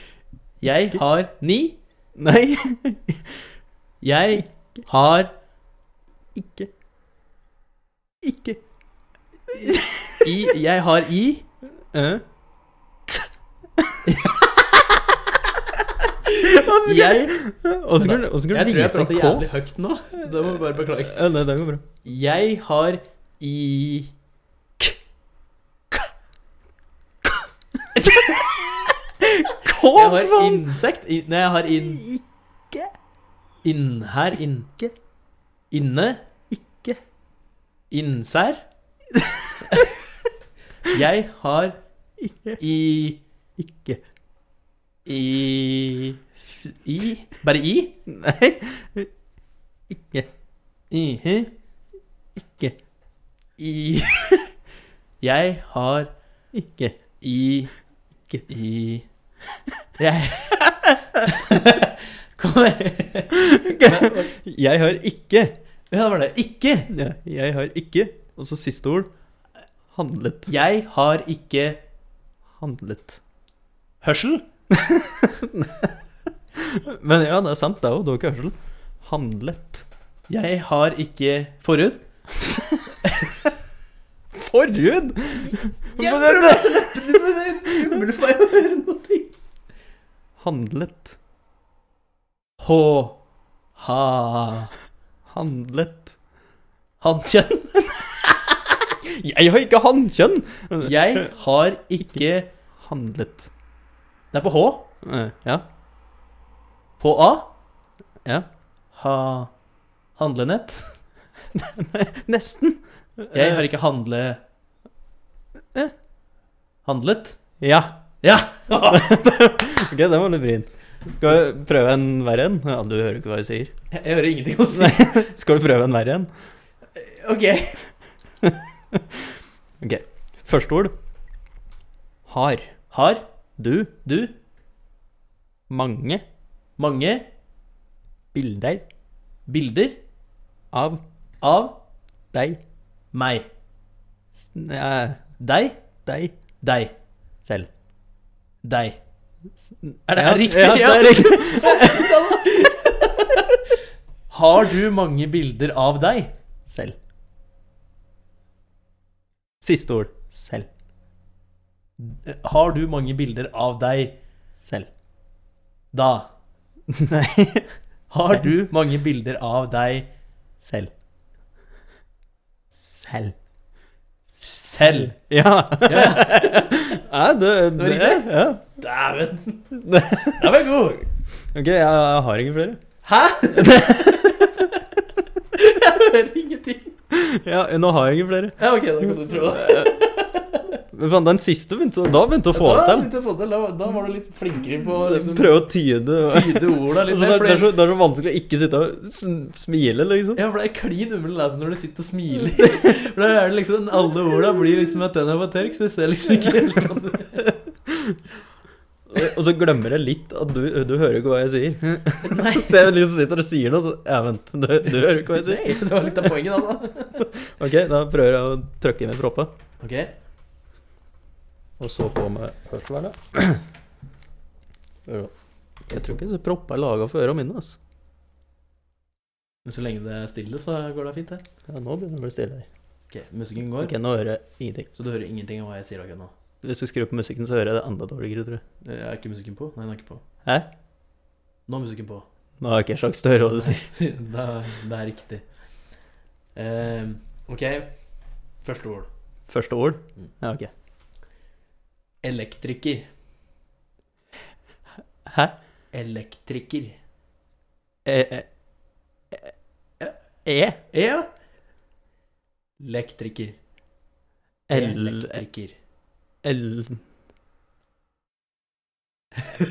Jeg har ni. Nei. Jeg har Ikke. Ikke. i Jeg har i Eh, Jeg Og så kan du- og så kan Jeg du tror jeg vise en prater jævlig K. høyt nå. Det må vi bare beklage. Ja, nei, det går bra. Jeg har i K, Jeg har insekt i, Nei, jeg har inn Ikke. Inn her inn Ikke. Inne Ikke. Innsær Jeg har Ikke. i Ikke. I I Bare i? Nei. Ikke. Mhm. Ikke. I Jeg har Ikke. I Ikke. I Jeg Kom igjen. Jeg har ikke. Ja, det var det. Ikke. Ja, jeg har ikke. Og så siste ord. Handlet. Jeg har ikke Handlet. hørsel. Men ja, det er sant, det er jo dog hørsel. Handlet. Jeg har ikke forhud. Forhud! Handlet. H Ha Handlet. Hankjønn. Jeg har ikke hannkjønn! Jeg har ikke Handlet. Det er på H. Eh, Ja. På A. Ja. Ha Handlenett. Nesten. Jeg har ikke handle... Eh. Handlet. Ja. Ja! Ok, den var litt vrien. Skal vi prøve en verre en? Ja, du hører ikke hva jeg sier. Jeg hører ingenting å si. Skal du prøve en verre en? Ok. Første ord. Har Har du du mange mange bilder bilder av av deg meg? s- eh, Deg, deg deg, selv? deg. Er det Ja, her riktig? Ja, det er riktig. Har du mange bilder av deg? Selv. Siste ord. Selv. Har du mange bilder av deg Selv. da? Nei. Har du mange bilder av deg Selv. Selv. selv? Ja. Ja, ja det, det, var riktig. Ja. dæven. Den var god. Ok, jeg, jeg har ingen flere. Hæ? Jeg hører ingenting. Ja, nå har jeg ingen flere. Ja, ok, da kan du prøve. det. Men faen, den siste begynte da begynte å få Da, det til. begynte jeg å få det til. Da, da var du litt flinkere på å liksom, Prøve å tyde tyde orda litt. Altså, det, mer, er, det, er for det- så, det er så vanskelig å ikke sitte og sm- smile, liksom. Ja, for det er klin umulig å lese når du sitter og smiler. For da er det liksom, Alle orda blir liksom at den er på tørk, så du ser liksom ikke helt hva det Og så glemmer jeg litt at du, du hører ikke hva jeg sier. Nei. Så jeg liksom sitter og sier noe, så Ja, vent, du, du hører ikke hva jeg sier. Nei, Det var litt av poenget, altså. Ok, da prøver jeg å trykke inn i proppa. Ok, Og så på med hørselsvernet. Jeg tror ikke så proppa er laga for øra mine, altså. men Så lenge det er stille, så går det fint. det Ja, nå begynner det å bli stille her. Ok, Musikken går, Ok, nå hører jeg ingenting. så du hører ingenting av hva jeg sier akkurat nå. Hvis du skrur på musikken, så hører jeg det enda dårligere, tror jeg. Er ikke musikken på? Nei, den er ikke på. Hæ? Nå er musikken på. Nå har jeg ikke en sjanse til å høre hva du sier. det, er, det er riktig. Eh, ok, første ord. Første ord? Mm. Ja, ok. Elektriker. Hæ? Elektriker. E... e- E? e- Ja. Elektriker. L... Elektriker. L...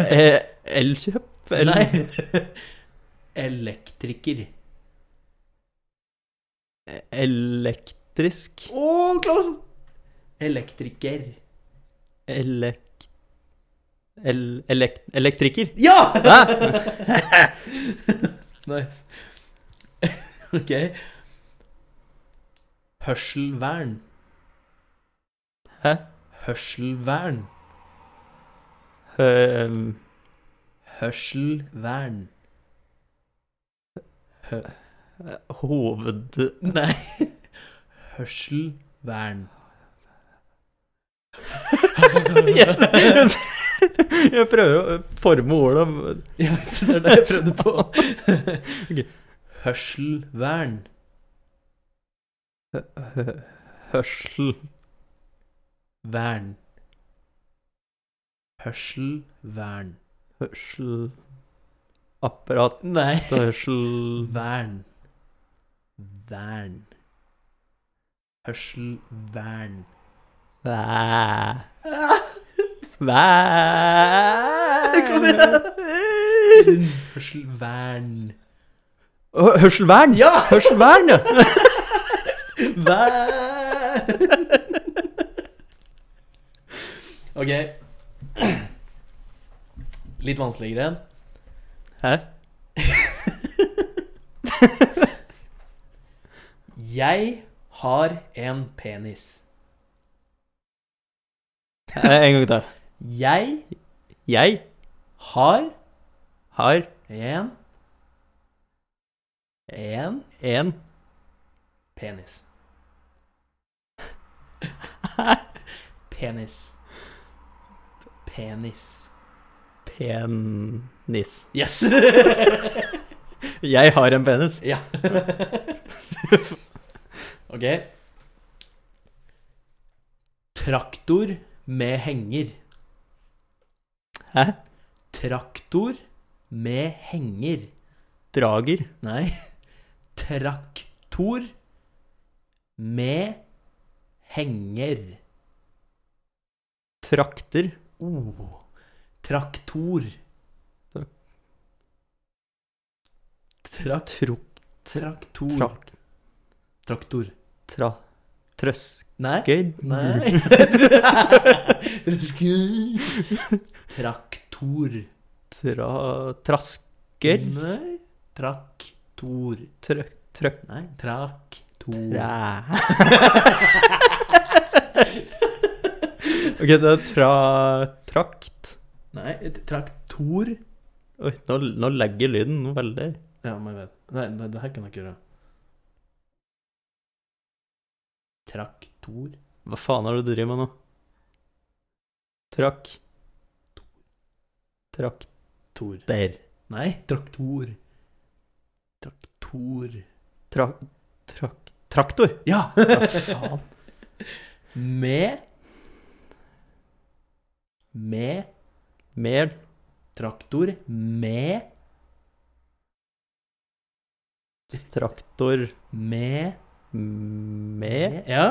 E- Elkjøp? El- Nei. Elektriker. Elektrisk? Å, Klaus! Elektriker. Elek... El... Elek... Elektriker? Ja! Hæ? nice. ok. Hørselvern. Hæ? Hørselvern. Hø- Hørselvern. Hø Hoved... Nei. Hørselvern. Yes. Jeg prøver å forme ordet. men- Jeg vet, det er det jeg prøvde på. Hørselvern. hø- Hørsel... Vern. Hørselvern. Hørsel... Apparat... Nei. Hørsel... Vern. Vern. Hørselvern. Væ... Kom Væ... Hørselvern. Hø- Hørselvern? Ja! Hørselvern, ja! Vern. Ok. Litt vanskeligere igjen. Hæ? Jeg har en penis. Eh, En gang til. Jeg Jeg har har en En en penis. Penis. Penis. penis. Yes! Jeg har en penis. Ja. ok. Traktor med henger. Hæ? Traktor med henger. Drager. Nei. Traktor med henger. Trakter. Oh. Traktor. Trak- Trak Tro... traktor. Trak... Traktor. Tra... Trøsker. Nei. Nei Traktor. Tra... Trasker. Nei. Traktor. Trø... Trøk... Nei, traktor. Træ... Ok, det er tra... Trakt. Nei, et traktor. Oi, nå, nå legger lyden noe veldig. Ja, men jeg vet. Nei, nei, det her kan jeg ikke gjøre. Traktor. Hva faen er det du driver med nå? Trakk. Trakter. Tor. Nei, traktor. Traktor. Tra... Trak... Traktor! Ja! Hva faen? Med Med Mer traktor. Med traktor Med Med Ja.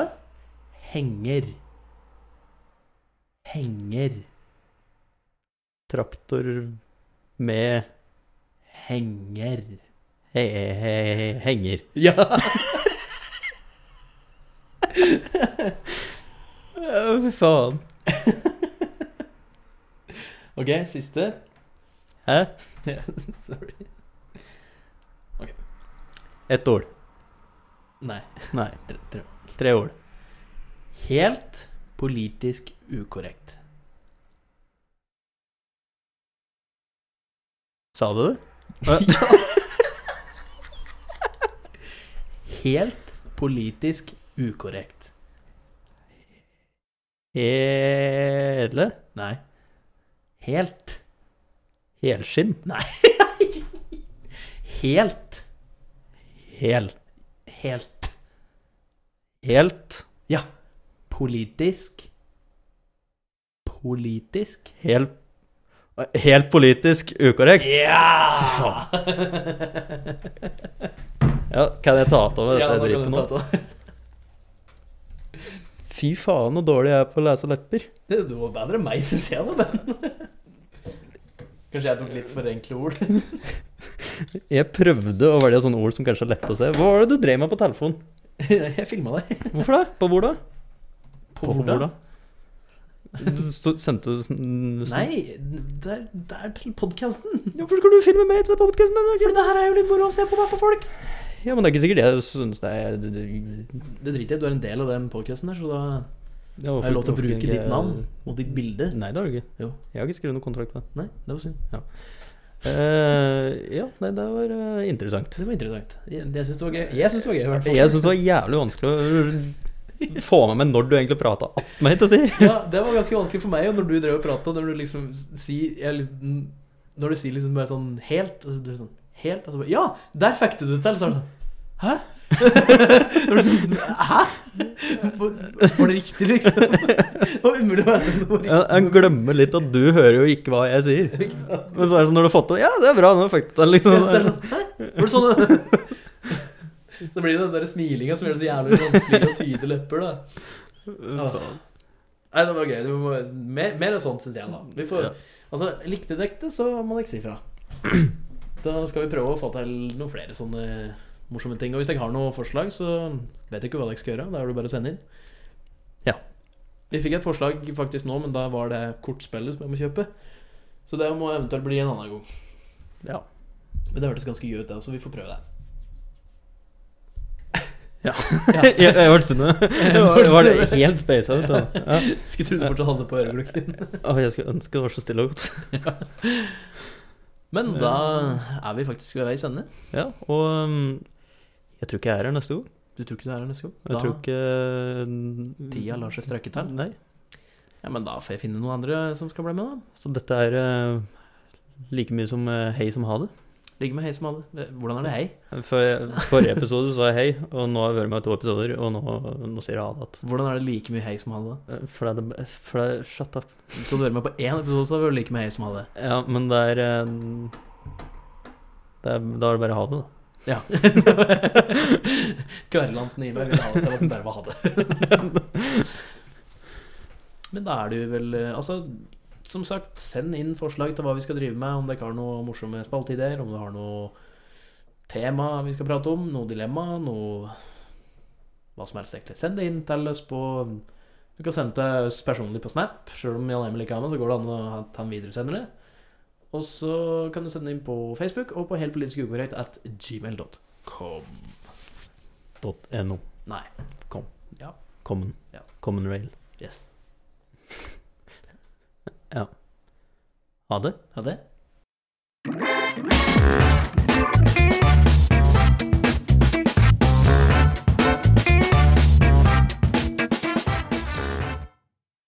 Henger. Henger. traktor Med Henger. he he henger. Ja! Ja, Fy faen. ok, siste. Hæ? Ja, Sorry. Ett ord. Nei. Nei, Tre, tre. tre ord. Helt politisk ukorrekt. Sa du det? Helt politisk ukorrekt. Hele Nei. Helt. Helskinn? Helt. Hel. Helt. Helt. Politisk. Politisk. Hel Helt politisk ukorrekt? Ja! Ja, kan jeg ta av meg ja, nå dette kan dritet du nå? ta det. Fy faen, så dårlig jeg er på å lese lepper. Du var bedre enn meg, syns jeg, da, men Kanskje jeg tok litt for enkle ord. Jeg prøvde å velge sånne ord som kanskje er lette å se. Hva var det du drev med på telefonen? Jeg filma deg. Hvorfor det? På hvor da? På hvordan? Du sto- sendte du sånn- sånn- Nei, det er, det er til podkasten. Hvorfor skal du filme mer til podkasten? For det her er jo litt moro å se på da for folk. Ja, men det er ikke sikkert jeg syns det er det- det- Det driter jeg i. Du er en del av den podkasten her, så da det har var jeg lov til å hvorfor bruke ikke- ditt navn og ditt bilde. Nei, det har du ikke. Jo. Jeg har ikke skrevet noen kontrakt på det. Nei, det var synd. Eh, ja, nei, det var eh, interessant. Det var interessant. Jeg, jeg syns det var gøy. Jeg syns det var gøy, i hvert fall. Jeg syns det var jævlig vanskelig å få med meg når du egentlig prata attmed hit etter. Ja, det var ganske vanskelig for meg og når du drev og prata. Når du liksom sier jeg, liksom- Når du sier liksom bare sånn helt og så du sånn, Helt? Og så bare Ja, der fikk du det til! Så er det sånn Hæ? Det var sånn, Hæ? Var, var det riktig, liksom? Det var umulig å vite om det Jeg, var jeg glemmer litt at du hører jo ikke hva jeg sier. riktig. Ikke sant? Men så er det sånn når du har fått det Ja, det er bra, nå fikk du Ja, det, så er det liksom. sånn, Hæ? Var det sånn Så blir det den der smilinga som gjør det så jævlig vanskelig å tyde lepper, da. sånn- Faen. Nei, det var gøy. Det var mer, mer av sånt, syns jeg. da Vi får, Ja. Altså, likte dere det, så må dere si fra. Så skal vi prøve å få til noen flere sånne morsomme ting. Og hvis dere har noen forslag, så vet jeg ikke hva dere skal gjøre. Da er det bare å sende inn. Ja. Vi fikk et forslag faktisk nå, men da var det kortspillet som jeg må kjøpe. Så det må eventuelt bli en annen gang. Ja. Men det hørtes ganske gøy ut, det, så vi får prøve det. Jeg jeg hørte sinne. Det var, det var det helt space out. da. Ja. Skulle tro du fortsatt hadde på øreklokken din. Å, jeg skulle ønske det var så stille og godt. Men da er vi faktisk ved veis ende. Ja, og um, jeg tror ikke jeg er her neste gang. Du tror ikke du er her neste gang? Jeg Da tror ikke uh, tida lar seg strekke til. Nei. Ja, men da får jeg finne noen andre som skal bli med, da. uh, Så dette er eh, like mye som eh, hei som ha det. Ligger med hei som alle. Hvordan er det hei? For, uh, forrige episode sa jeg hei, og nå har jeg vært med i to episoder, og nå, nå sier jeg ha det. Hvordan er det like mye hei som alle? igjen. Uh, For det er det For det er Shut up. Så du hører meg på én episode, så er du like mye hei som alle. Ja, men det er eh, det er, Da er det bare ha det, da. Ja. Kverulanten i meg ville ha det til at jeg bare var ha det. Men da er du vel eh, Altså, som sagt, send inn forslag til hva vi skal drive med. Om dere har noe morsomme spalteideer, om du har noe tema vi skal prate om, noe dilemma, noe Hva som helst, egentlig. Send det inn til oss på Du kan sende til oss personlig på Snap. Sjøl om Jan Emil ikke er med, så går det an å- at han videresender det. Og så kan du sende inn på Facebook og på helt politisk ukorrekt at gmail.com. .no. Nei. Common. Ja. Common rail. Yes. Ha det. Ja, det?